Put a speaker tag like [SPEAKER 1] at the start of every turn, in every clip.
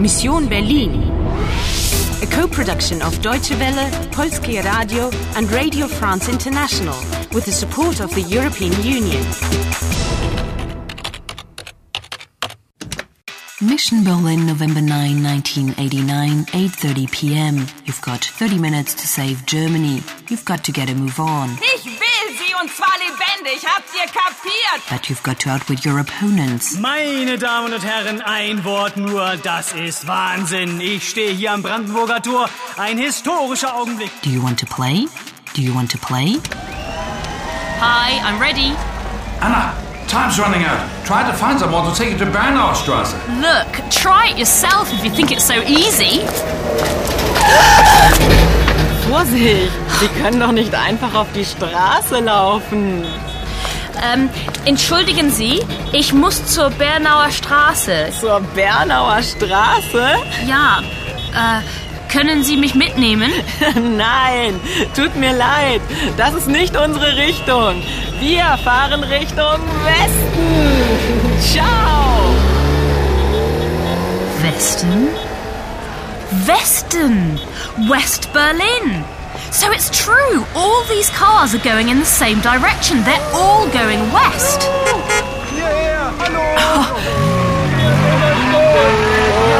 [SPEAKER 1] Mission Berlin. A co-production of Deutsche Welle, Polskie Radio and Radio France International with the support of the European Union.
[SPEAKER 2] Mission Berlin, November 9, 1989, 8:30 p.m. You've got 30 minutes to save Germany. You've got to get a move on,
[SPEAKER 3] Ich will sie und zwar lebendig. Habt ihr kapiert?
[SPEAKER 2] but you've got to outwit your opponents.
[SPEAKER 4] Meine Damen und Herren, ein Wort nur, das ist Wahnsinn. Ich stehe hier am Brandenburger Tor. Ein historischer Augenblick.
[SPEAKER 2] Do you want to play? Do you want to play?
[SPEAKER 5] Hi, I'm ready.
[SPEAKER 6] Anna, time's running out. Try to find someone to take you to Bernaustrasse.
[SPEAKER 5] Look, try it yourself if you think it's so easy.
[SPEAKER 7] Vorsicht! Sie können doch nicht einfach auf die Straße laufen.
[SPEAKER 5] Ähm, entschuldigen Sie, ich muss zur Bernauer Straße.
[SPEAKER 7] Zur Bernauer Straße?
[SPEAKER 5] Ja, äh, können Sie mich mitnehmen?
[SPEAKER 7] Nein, tut mir leid. Das ist nicht unsere Richtung. Wir fahren Richtung Westen. Ciao!
[SPEAKER 5] Westen? Westen! West Berlin! So it's true, all these cars are going in the same direction. They're all going west.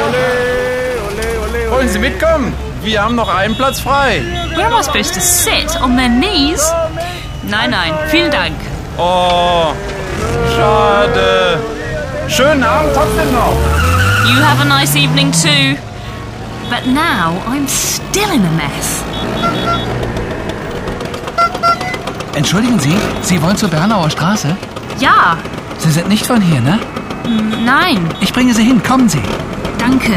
[SPEAKER 6] Wollen Sie mitkommen? Wir haben noch einen Platz frei.
[SPEAKER 5] Where am I supposed to sit? On their knees? Nein, nein, vielen Dank.
[SPEAKER 6] Oh, schade. Schönen Abend trotzdem noch.
[SPEAKER 5] You have a nice evening too. But now I'm still in a mess.
[SPEAKER 8] Entschuldigen Sie, Sie wollen zur Bernauer Straße?
[SPEAKER 5] Ja,
[SPEAKER 8] Sie sind nicht von hier, ne?
[SPEAKER 5] nein,
[SPEAKER 8] Ich bringe Sie hin, kommen Sie.
[SPEAKER 5] danke.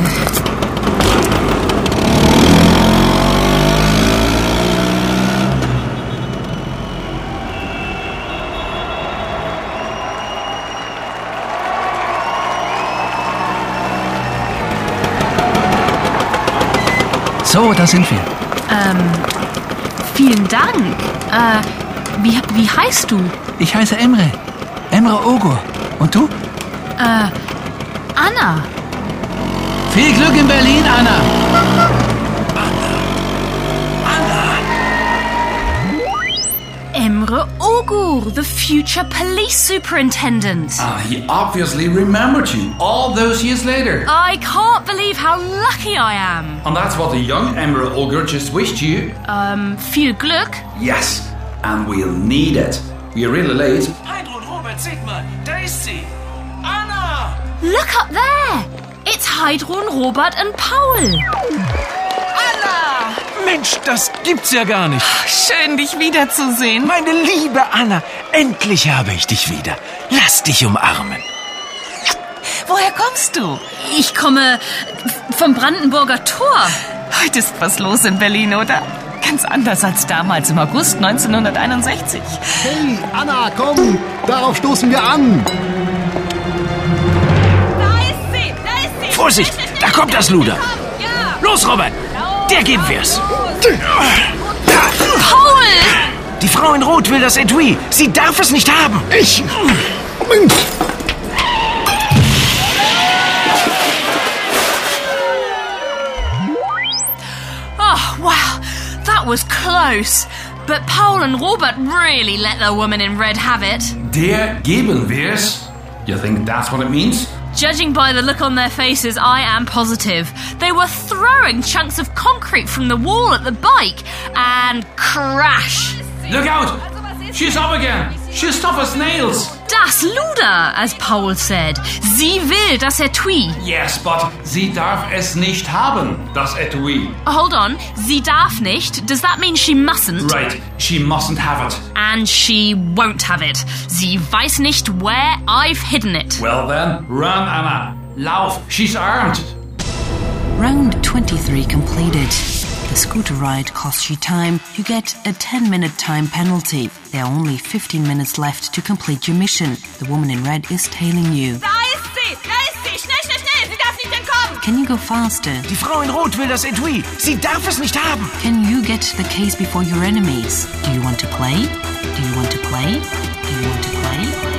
[SPEAKER 8] So, da sind wir.
[SPEAKER 5] Vielen Dank. Äh, wie, wie heißt du?
[SPEAKER 8] Ich heiße Emre. Emre Ogur. Und du?
[SPEAKER 5] Anna.
[SPEAKER 8] Viel Glück in Berlin, Anna.
[SPEAKER 5] Emre Ogur, the future police superintendent.
[SPEAKER 6] Ah, he obviously remembered you all those years later.
[SPEAKER 5] I can't believe how lucky I am.
[SPEAKER 6] And that's what the young Emerald Ogre just wished you.
[SPEAKER 5] Um, Viel Glück.
[SPEAKER 6] Yes, and we'll need it. We're really late.
[SPEAKER 4] Heidrun, Robert, seht mal, da ist sie. Anna!
[SPEAKER 5] Look up there. It's Heidrun, Robert and Paul.
[SPEAKER 9] Mensch, das gibt's ja gar nicht.
[SPEAKER 7] Schön, dich wiederzusehen.
[SPEAKER 9] Meine liebe Anna, endlich habe ich dich wieder. Lass dich umarmen.
[SPEAKER 7] Woher kommst du?
[SPEAKER 5] Ich komme vom Brandenburger Tor.
[SPEAKER 7] Heute ist was los in Berlin, oder? Ganz anders als damals im August 1961.
[SPEAKER 10] Anna, komm! Darauf stoßen wir an!
[SPEAKER 3] Da ist sie, da ist sie.
[SPEAKER 9] Vorsicht, da kommt das Luder.
[SPEAKER 3] Komm, ja.
[SPEAKER 9] Los, Robert, der geben wir's.
[SPEAKER 5] Paul!
[SPEAKER 9] Die Frau in Rot will das Etui. Sie darf es nicht haben.
[SPEAKER 10] Ich!
[SPEAKER 5] Oh, wow, that was close. But Paul and Robert really let the woman in red have it.
[SPEAKER 6] Der geben wir's. You think that's what it means?
[SPEAKER 5] Judging by the look on their faces, I am positive. They were throwing chunks of concrete from the wall at the bike and crash.
[SPEAKER 6] Look out! She's up again. She's tough as nails.
[SPEAKER 5] Das Luder, as Paul said. Sie will das Etui.
[SPEAKER 6] Yes, but sie darf es nicht haben, das Etui.
[SPEAKER 5] Hold on, sie darf nicht. Does that mean she mustn't?
[SPEAKER 6] Right, she mustn't have it.
[SPEAKER 5] And she won't have it. Sie weiß nicht, where I've hidden it.
[SPEAKER 6] Well then, run, Anna. Lauf, she's armed.
[SPEAKER 2] Round 23 completed. The scooter ride costs you time. You get a 10 minute time penalty. There are only 15 minutes left to complete your mission. The woman in red is tailing you.
[SPEAKER 3] Da ist sie, da ist sie. Schnell, schnell, schnell. Sie darf nicht entkommen.
[SPEAKER 2] Can you go faster?
[SPEAKER 9] Die Frau in Rot will das Etui. Sie darf es nicht haben.
[SPEAKER 2] Can you get the case before your enemies? Do you want to play? Do you want to play? Do you want to play?